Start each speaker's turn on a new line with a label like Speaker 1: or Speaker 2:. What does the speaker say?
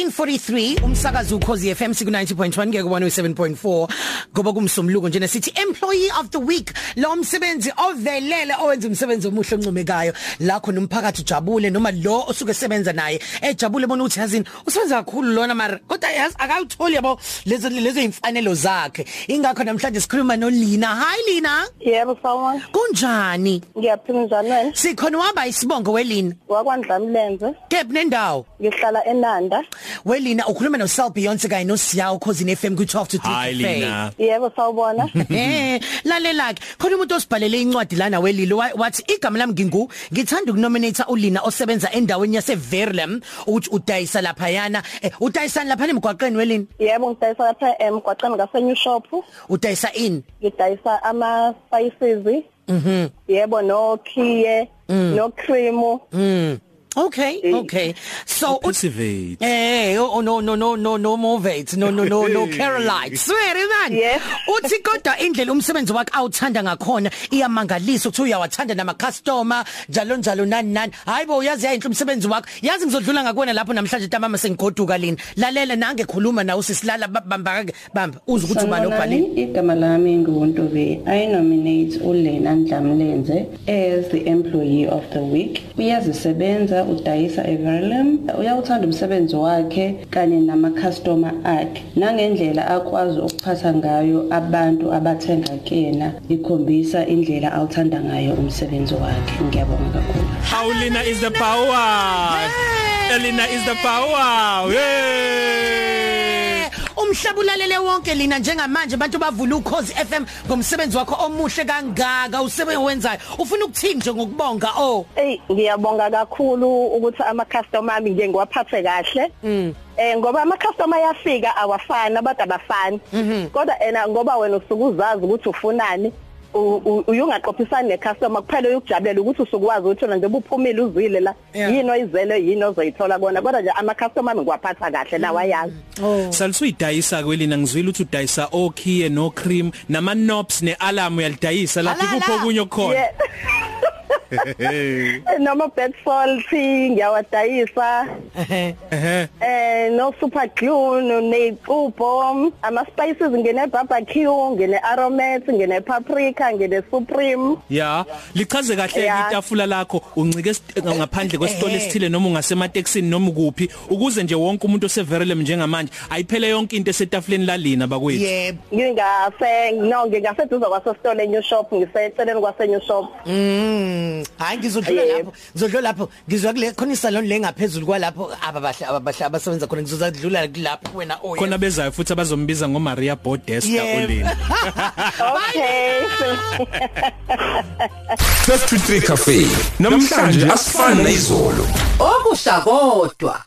Speaker 1: 1443 umsakazo ukhozi FM siku90.1 ngeke kubona u7.4 ngoba kumsumluko njena sithi employee of the week lo msebenzi ovelele owenza umsebenzi omuhle oncomekayo la khona umphakathi ujabule noma lo osuke esebenza naye ejabule bona uthi yazini usebenza kakhulu lona mara kodwa yazi akawutholi yabo lezo lezo imfanelo zakhe ingakho namhlanje sikhuluma noLina hi Lina
Speaker 2: Yebo sawona.
Speaker 1: kunjani
Speaker 2: Ngiyaphila njani wena?
Speaker 1: sikhona waba isibongo weLina
Speaker 2: Wakwandlamlenze,
Speaker 1: kephi nendawo
Speaker 2: ngihlala eNanda.
Speaker 1: Welina ukhuluma noSel Beyonce kanye noSiyaw cousin FM ku12 to 3.
Speaker 3: Hi Lina.
Speaker 2: Yebo sawubona.
Speaker 1: Eh, lalela ke. Khona umuntu osibhalele incwadi lana welilo wa- wathi igama lami ngingu ngithanda ukunominate uLina osebenza endaweni yase Verlam ukuthi udayisa lapha yana. Eh, udayisani lapha emgwaqeni welini?
Speaker 2: Yebo ngidayisa lapha eh, emgwaqeni kaseNew Shop,
Speaker 1: Udayisa ini?
Speaker 2: ngidayisa ama spices. Mhm. Yebo nokhiye,
Speaker 1: Mhm.
Speaker 2: no cream.
Speaker 1: Okay,
Speaker 2: Eh.
Speaker 1: okay. So uthi-
Speaker 3: Cultivate.
Speaker 1: Eh, oh oh, no no no no no Movate, no no no no Carolite. Swear man.
Speaker 2: Yes.
Speaker 1: Uthi kodwa indlela umsebenzi wakhe awuthanda ngakhona iyamangalisa ukuthi uyawathanda nama customer njalo njalo nani nani. Hayibo uyazi yayinhle umsebenzi wakho. Yazi ngizodlula ngakuwena lapho namhlanje ntamama sengigoduka lini. Lalela nange khuluma nawe sisilala babamba bamba uze ukuthi ubani obhalile.
Speaker 4: Sanibonani, igama lami nguNtobe I nominate uLena Ndlamlenze as the employee of the week uyazisebenza udayisa eVerlim uyawuthanda umsebenzi wakhe kanye nama customer akhe nangendlela akwazi ukuphatha ngayo abantu abathenga kuyena ikhombisa indlela awuthanda ngayo umsebenzi wakhe ngiyabonga kakhulu
Speaker 3: How Lina is the power. Elena is the power. Yay!
Speaker 1: Eh, Umhlaba ulalele wonke lina njengamanje abantu bavula ukhozi FM ngomsebenzi wakho omuhle kangaka usebenza wenzayo ufuna ukuthini nje ngokubonga oh
Speaker 2: Ey, ngiyabonga kakhulu ukuthi ama customer ami nje ngiwaphathe kahle. Mhm. Eh ngoba ama customer yafika awafani abantu abafani. Kodwa ena ngoba wena usukuzazi ukuthi ufunani. u- u- uyungaqophisani necustomer kuphela uyokujabulela ukuthi usukwazi ukuthi wena nje ubuphumile uzwile la
Speaker 1: Yeah.
Speaker 2: yini oyizele yini ozoyithola kona kodwa nje ama customer ami ngiwaphatha kahle la wayazi
Speaker 3: Salisuyidayisa kwelina ngizwile ukuthi udayisa okhiye no cream nama knobs nealarm uyalidayisa lapho
Speaker 1: Alala.
Speaker 3: kupho okunye okukhona.
Speaker 2: Yeah. Eh, noma bed salt ngiyawadayisa
Speaker 3: Ehhe.
Speaker 2: eh no super glue no necubo ama spices ngene barbecue ngene aromat ngene paprika ngene supreme
Speaker 3: Ya, lichaze kahle
Speaker 2: Yeah.
Speaker 3: itafula lakho uncike esi- ngaphandle kwesitolo
Speaker 1: ehhe.
Speaker 3: esithile noma ungasemateksini noma ukuphi ukuze nje wonke umuntu oseverelem njengamanje ayiphele yonke into esetafuleni lalina bakwethu.
Speaker 1: yebo
Speaker 2: ngingase no ngingaseduza kwasesitolo eNew Shop ngiseceleni kwaseNew Shop
Speaker 1: mm, hayi ngizodlula
Speaker 2: Yebo.
Speaker 1: lapho ngizodlula lapho ngizwa kule khona isalon lengaphezulu kwalapho ababahle ababahle abasebenza khona ngizodlula kulapho wena oh
Speaker 3: khona bezayo futhi abazombiza ngo Maria Bodesta
Speaker 1: Yebo.
Speaker 3: ulini
Speaker 2: okay
Speaker 5: First to 3 Cafe. Namhlanje asifani nezolo.
Speaker 6: okusha kodwa